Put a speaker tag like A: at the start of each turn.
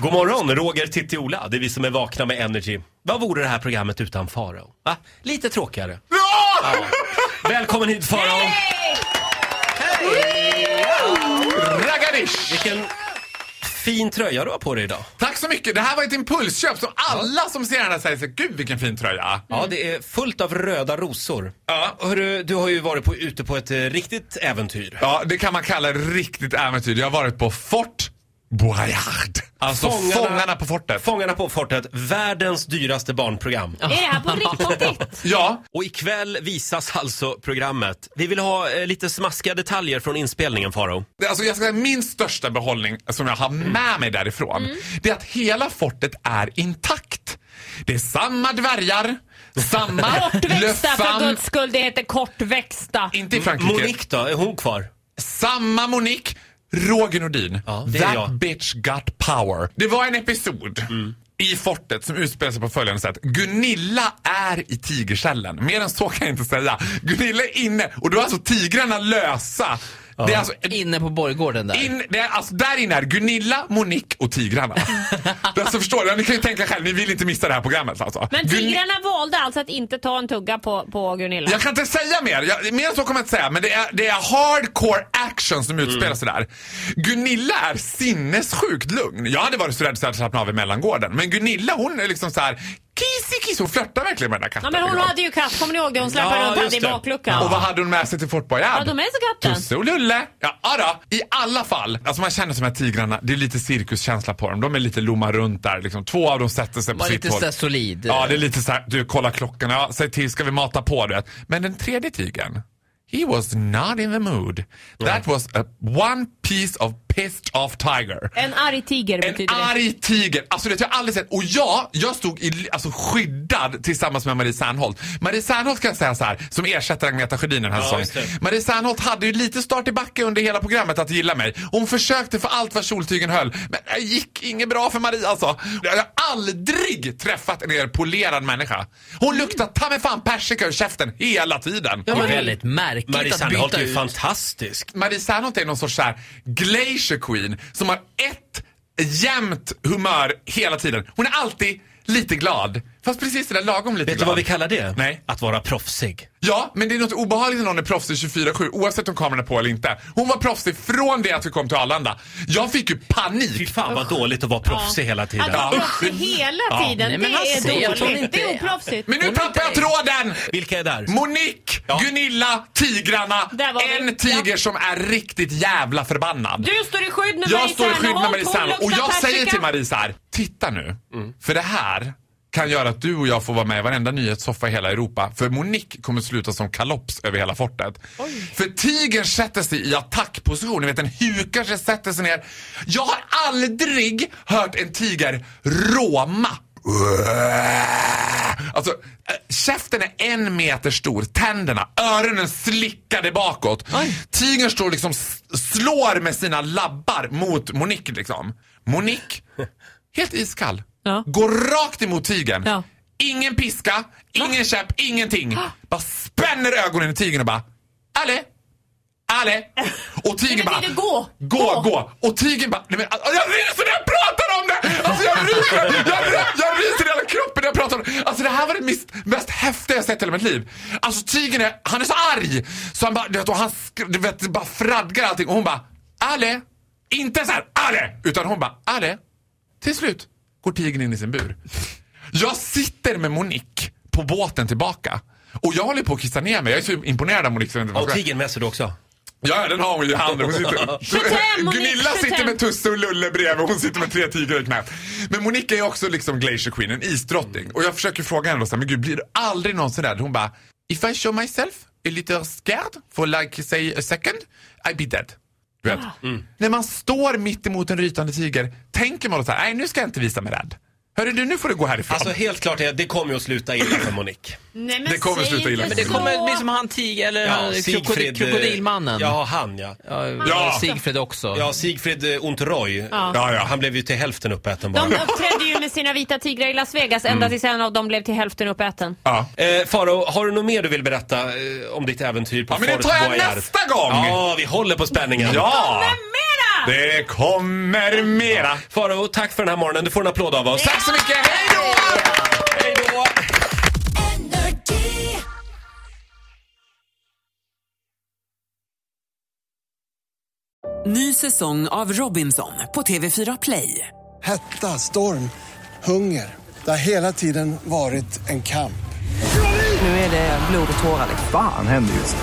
A: God morgon, Roger, Titti, Ola. Det är vi som är vakna med Energy. Vad vore det här programmet utan Farao? Va? Lite tråkigare. Ja! Välkommen hit Farao!
B: Raganish!
A: Vilken fin tröja du har på dig idag.
B: Tack så mycket! Det här var ett impulsköp som alla som ser den här säger så, gud vilken fin tröja.
C: Mm.
A: Ja, det är fullt av röda rosor.
B: Ja.
A: Hörru, du har ju varit på, ute på ett eh, riktigt äventyr.
B: Ja, det kan man kalla riktigt äventyr. Jag har varit på Fort Boyard. Alltså
A: Fångarna-
B: fångarna, på fortet.
A: Fångarna på fortet, världens dyraste barnprogram.
D: Är det här på riktigt?
B: ja,
A: Och ikväll visas alltså programmet. Vi vill ha eh, lite smaskiga detaljer från inspelningen Faro.
B: det- alltså jag ska säga min största behållning som jag har med mig därifrån. Det är att hela fortet är intakt. Det är samma dvärgar, samma
D: Kortväxta för
B: löffan.
D: guds skull, det heter kortväxta.
B: Inte i Frankrike.
A: Monique då, är hon kvar?
B: Samma Monique, Roger Nordin.
A: Ja, det är
B: That
A: jag.
B: bitch got power. Det var en episod i fortet som utspelar sig på följande sätt. Gunilla är i tigerkällan. Mer än så kan jag inte säga. Gunilla är inne och då är alltså tigrarna lösa. Det är alltså
C: Inne på borggården där.
B: in, det är, alltså där inne är Gunilla, Monique och tigrarna. Det är alltså, förstår ni? Ni kan ju tänka själv, ni vill inte missa det här programmet alltså.
D: Men
B: Gun-
D: tigrarna valde alltså att inte ta en tugga på, på Gunilla.
B: Jag kan inte säga mer. Jag, mer än så kommer jag inte säga. Men det är, det är hardcore action som
C: Mm.
B: utspelar sig där. Gunilla är sinnessjukt lugn. Jag hade varit så rädd så jag hade slappnat av i mellangården. Men Gunilla hon är liksom så här kissy kiss. Hon flörtar verkligen med den där katten.
D: Ja, men hon
B: liksom.
D: hade ju katt, kommer ni ihåg det? Hon släpade
A: Ja,
D: runt henne
A: just
D: i
A: det.
D: bakluckan.
B: Och vad hade hon med sig till Fort Boyard?
D: Hade hon med sig katten?
B: Tusse och Lulle. Ja, då. I alla fall. Alltså man känner som de här tigrarna, det är lite cirkuskänsla på dem. De är lite lomma runt där. Liksom. Två av dem sätter sig på
C: Var
B: sitt
C: lite
B: håll.
C: sådär solid.
B: Ja, det är lite så här, du kolla klockan, ja, säg till, ska vi mata på det? Men den tredje tigern, he was not in the mood. That was a one piece of pissed off tiger.
D: En arg tiger
B: En
D: betyder det.
B: arg tiger! Alltså det har jag aldrig sett. Och jag, jag stod i, alltså, skyddad tillsammans med Marie Serneholt. Marie Serneholt kan jag säga så här, som ersätter Agneta Sjödin den här
A: Ja, just
B: säsongen.
A: det.
B: Marie Serneholt hade ju lite start i backe under hela programmet att gilla mig. Hon försökte för allt vad soltygen höll. Men det gick inget bra för Marie alltså. Jag har aldrig träffat en mer polerad människa.
D: Mm.
B: Hon luktar ta mig fan persika ur käften hela tiden.
C: Det var väldigt märkligt
A: Marie
C: att
A: Sandholt
C: byta
A: är ju
C: ut.
A: fantastisk.
B: Marie Serneholt är någon sorts så här glacier queen som har ett jämnt humör hela tiden. Hon är alltid lite glad. Fast precis det där lagom lite
A: Vet du
B: glad.
A: vad vi kallar det?
B: Nej.
A: Att vara proffsig.
B: Ja, men det är något obehagligt när någon är proffsig 24-7 oavsett om kameran är på eller inte. Hon var proffsig från det att vi kom till Arlanda. Jag fick ju
A: Fy
B: panik.
A: fan vad dåligt att vara proffsig hela tiden.
D: Att vara
B: Ja.
D: proffsig hela
A: Ja.
D: tiden,
C: Nej, men han
D: det
C: ser
D: är
C: att hon
D: dåligt.
C: inte
D: Det är
C: är.
D: otroligt.
B: Men nu
C: Hon är
B: tappar jag
C: inte-
B: tråden!
A: Vilka är där?
B: Monique, Gunilla, tigrarna.
D: Där var vi.
B: En tiger
D: Ja.
B: som är riktigt jävla förbannad.
D: Du står i skydd med
B: Jag står i skydd med Marie
D: Hon
B: Serneholt och
D: luktar
B: jag säger
D: persika.
B: till Marie så här, titta nu, för det här kan göra att du och jag får vara med i varenda nyhetssoffa i hela Europa. För Monique kommer sluta som kalops över hela fortet. För tigern sätter sig i attackposition, ni vet den hukar sig, sätter sig ner. Jag har aldrig hört en tiger råma. Alltså, äh, käften är en meter stor, tänderna, öronen slickade bakåt. Tigern står liksom s- slår med sina labbar mot Monique liksom. Monique, helt iskall.
D: Ja.
B: Går rakt emot tigern.
D: Ja.
B: Ingen piska, ingen käpp, ingenting. Bara spänner ögonen i tigern och bara Ale! Ale! Och tigern
D: Det
B: bara
D: betyder gå.
B: Gå, gå! Och tigern bara nej men, alltså, Jag ryser när jag pratar om det! Alltså jag ryser! Jag, ry- jag ryser i hela kroppen när jag pratar om det! Alltså det här var det mest, mest häftiga jag sett i hela mitt liv. Alltså tigern är, han är så arg! Så han bara, du vet, och han sk- du vet, bara fradgar allting och hon bara Ale! Inte så här Ale! Utan hon bara Ale! Till slut går tigern in i sin bur. Jag sitter med Monique på båten tillbaka. Och jag håller på att kissa ner mig. Jag är så imponerad av Monique. så jag vet inte vad jag
A: Och
B: ska-
A: tigern med sig du också.
B: Ja, den har hon ju i handen. Hon sitter...
D: Monique,
B: Gunilla
D: 25.
B: sitter med Tusse och Lulle bredvid och hon sitter med tre tigrar i knät. Men Monica är ju också liksom Glacier Queen, en isdrottning. Och jag försöker fråga henne då så här, men gud blir du aldrig någonsin rädd? Hon bara, if I show myself a little scared for like say a second, I'd be dead. Du vet. När man står mitt emot en rytande tiger, tänker man då så här, nej nu ska jag inte visa mig rädd. Hörru du, nu får du gå härifrån.
A: Alltså helt klart är det kommer ju att sluta illa för Monique.
D: Nej, men
B: Det kommer
D: säg
B: sluta illa.
D: inte
C: Men det
D: så.
C: kommer bli som han tiger, eller han,
A: Siegfried,
C: krokodil,
A: eh,
C: krokodilmannen.
A: Ja, han ja.
C: Ja,
B: Ja.
C: Sigfrid också.
A: Ja, Sigfrid eh, Ontoroy.
B: Ja, ja.
A: Han blev ju till hälften uppäten bara.
D: De uppträdde ju med sina vita tigrar i Las Vegas
B: Mm.
D: ända tills en av dem blev till hälften uppäten.
B: ja.
A: Eh, Faro, har du något mer du vill berätta eh, om ditt äventyr på
B: Ja, men det
A: Fort
B: tar jag
A: Boyard?
B: nästa gång.
A: Ja, vi håller på spänningen.
B: ja.
D: Mera! mera!
B: Det kommer mera.
A: Farao, tack för den här morgonen. Du får en applåd av oss.
B: Tack så mycket, hej då!
A: Hej då!
E: energy.
F: Ny säsong av Robinson på TV4 Play.
G: Hetta, storm, hunger. Det har hela tiden varit en kamp.
F: Nu är det blod och tårar.
H: Fan händer just nu.